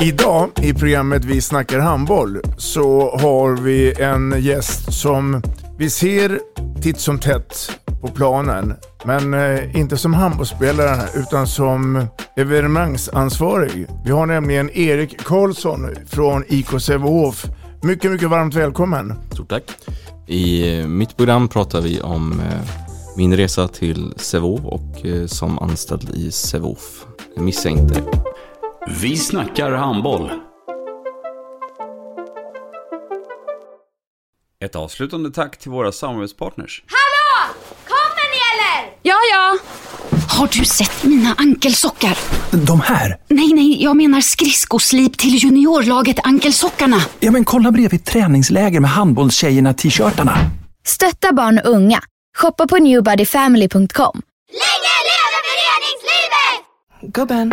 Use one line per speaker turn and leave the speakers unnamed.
Idag i programmet Vi snackar handboll så har vi en gäst som vi ser titt som tätt på planen. Men eh, inte som handbollsspelare utan som evenemangsansvarig. Vi har nämligen Erik Karlsson från IK Sävehof. Mycket, mycket varmt välkommen.
Stort tack. I eh, mitt program pratar vi om eh, min resa till Sävehof och eh, som anställd i Sävehof. Missa inte det.
Vi snackar handboll. Ett avslutande tack till våra samarbetspartners.
Hallå! Kommer ni eller?
Ja, ja. Har du sett mina ankelsockar?
De här?
Nej, nej, jag menar skridskoslip till juniorlaget Ankelsockarna.
Ja, men kolla bredvid träningsläger med handbollstjejerna-t-shirtarna.
Stötta barn och unga. Shoppa på newbodyfamily.com.
Länge leve föreningslivet!
Gubben,